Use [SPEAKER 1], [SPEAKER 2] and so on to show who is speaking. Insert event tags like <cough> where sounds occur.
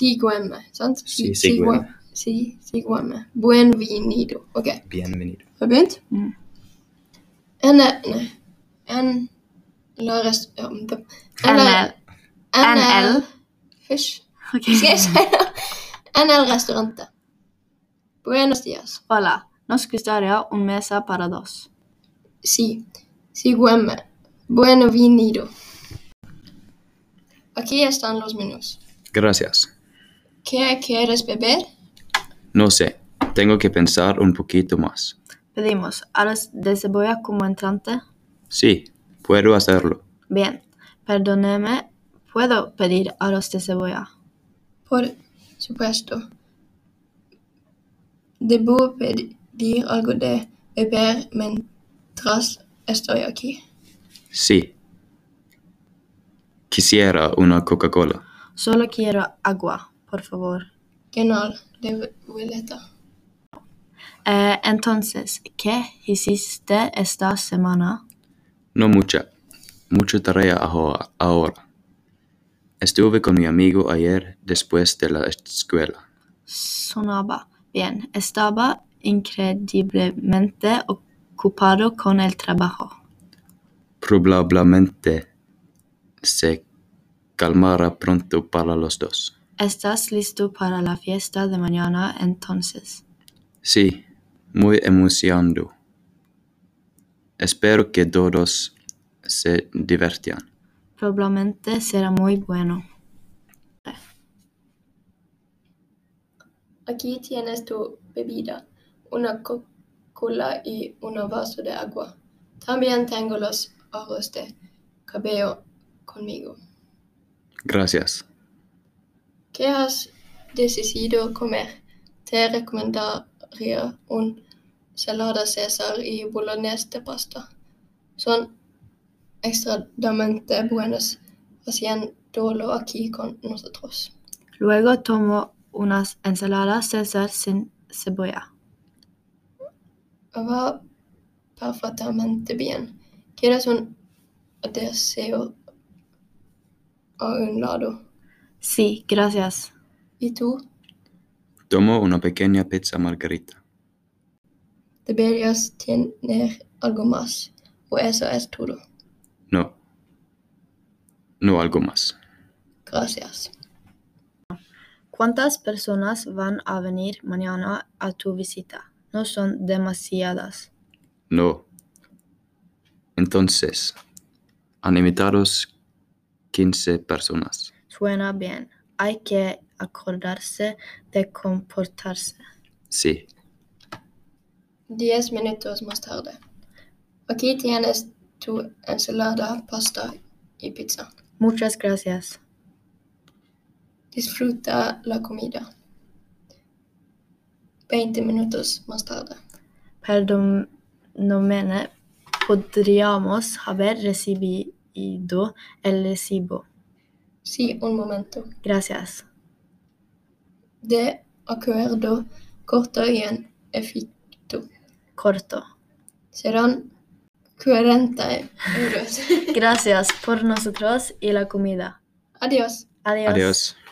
[SPEAKER 1] Sigüenza. ¿Sant?
[SPEAKER 2] Sí, sigüenza.
[SPEAKER 1] Sí, sigüenza. Bienvenido. Okej.
[SPEAKER 2] Bienvenido.
[SPEAKER 1] Har vi begynt?
[SPEAKER 3] Mm.
[SPEAKER 1] En, nej. En, lördags... eh,
[SPEAKER 3] NL. NL.
[SPEAKER 1] Hush. Ska jag
[SPEAKER 3] Okej.
[SPEAKER 1] säga? NL restaurante. Buenos dias.
[SPEAKER 3] Hola. Norsk historia, un mesa para dos.
[SPEAKER 1] Sí. Sigüenza. Bienvenido. Aquí están los menús.
[SPEAKER 2] Gracias.
[SPEAKER 1] ¿Qué quieres beber?
[SPEAKER 2] No sé. Tengo que pensar un poquito más.
[SPEAKER 3] Pedimos alas de cebolla como entrante.
[SPEAKER 2] Sí, puedo hacerlo.
[SPEAKER 3] Bien. Perdóneme, ¿puedo pedir alas de cebolla?
[SPEAKER 1] Por supuesto. Debo pedir algo de beber mientras estoy aquí.
[SPEAKER 2] Sí. Quisiera una Coca-Cola.
[SPEAKER 3] Solo quiero agua, por favor.
[SPEAKER 1] Genau, de Violeta.
[SPEAKER 3] Eh, entonces, ¿qué hiciste esta semana?
[SPEAKER 2] No mucha. Mucha tarea aho- ahora. Estuve con mi amigo ayer después de la escuela.
[SPEAKER 3] Sonaba. Bien. Estaba increíblemente ocupado con el trabajo.
[SPEAKER 2] Probablemente se calmará pronto para los dos.
[SPEAKER 3] ¿Estás listo para la fiesta de mañana entonces?
[SPEAKER 2] Sí, muy emocionado. Espero que todos se diviertan.
[SPEAKER 3] Probablemente será muy bueno.
[SPEAKER 1] Aquí tienes tu bebida, una Coca-Cola y un vaso de agua. También tengo los aros de cabello conmigo.
[SPEAKER 2] Gracias.
[SPEAKER 1] ¿Qué has decidido comer? Te recomendaría un salada César y bolognese de pasta. Son extremadamente buenos haciéndolo aquí con nosotros.
[SPEAKER 3] Luego tomo unas ensaladas César sin cebolla.
[SPEAKER 1] Va perfectamente bien. ¿Quieres un deseo a un lado?
[SPEAKER 3] Sí, gracias.
[SPEAKER 1] ¿Y tú
[SPEAKER 2] Tomo una pequeña pizza margarita.
[SPEAKER 1] deberías tener algo más? O eso es todo.
[SPEAKER 2] No. No algo más.
[SPEAKER 1] Gracias.
[SPEAKER 3] ¿Cuántas personas van a venir mañana a tu visita? No son demasiadas.
[SPEAKER 2] No. Entonces, han invitado 15 personas.
[SPEAKER 3] Suena bien. Hay que acordarse de comportarse.
[SPEAKER 2] Sí.
[SPEAKER 1] Diez minutos más tarde. Aquí tienes tu ensalada, pasta y pizza.
[SPEAKER 3] Muchas gracias.
[SPEAKER 1] Disfruta la comida. Veinte minutos más tarde.
[SPEAKER 3] Perdóname, podríamos haber recibido el recibo.
[SPEAKER 1] Sí, un momento.
[SPEAKER 3] Gracias.
[SPEAKER 1] De acuerdo, corto y en efecto.
[SPEAKER 3] Corto.
[SPEAKER 1] Serán 40 euros. <laughs>
[SPEAKER 3] Gracias por nosotros y la comida.
[SPEAKER 1] Adiós.
[SPEAKER 3] Adiós.
[SPEAKER 2] Adiós.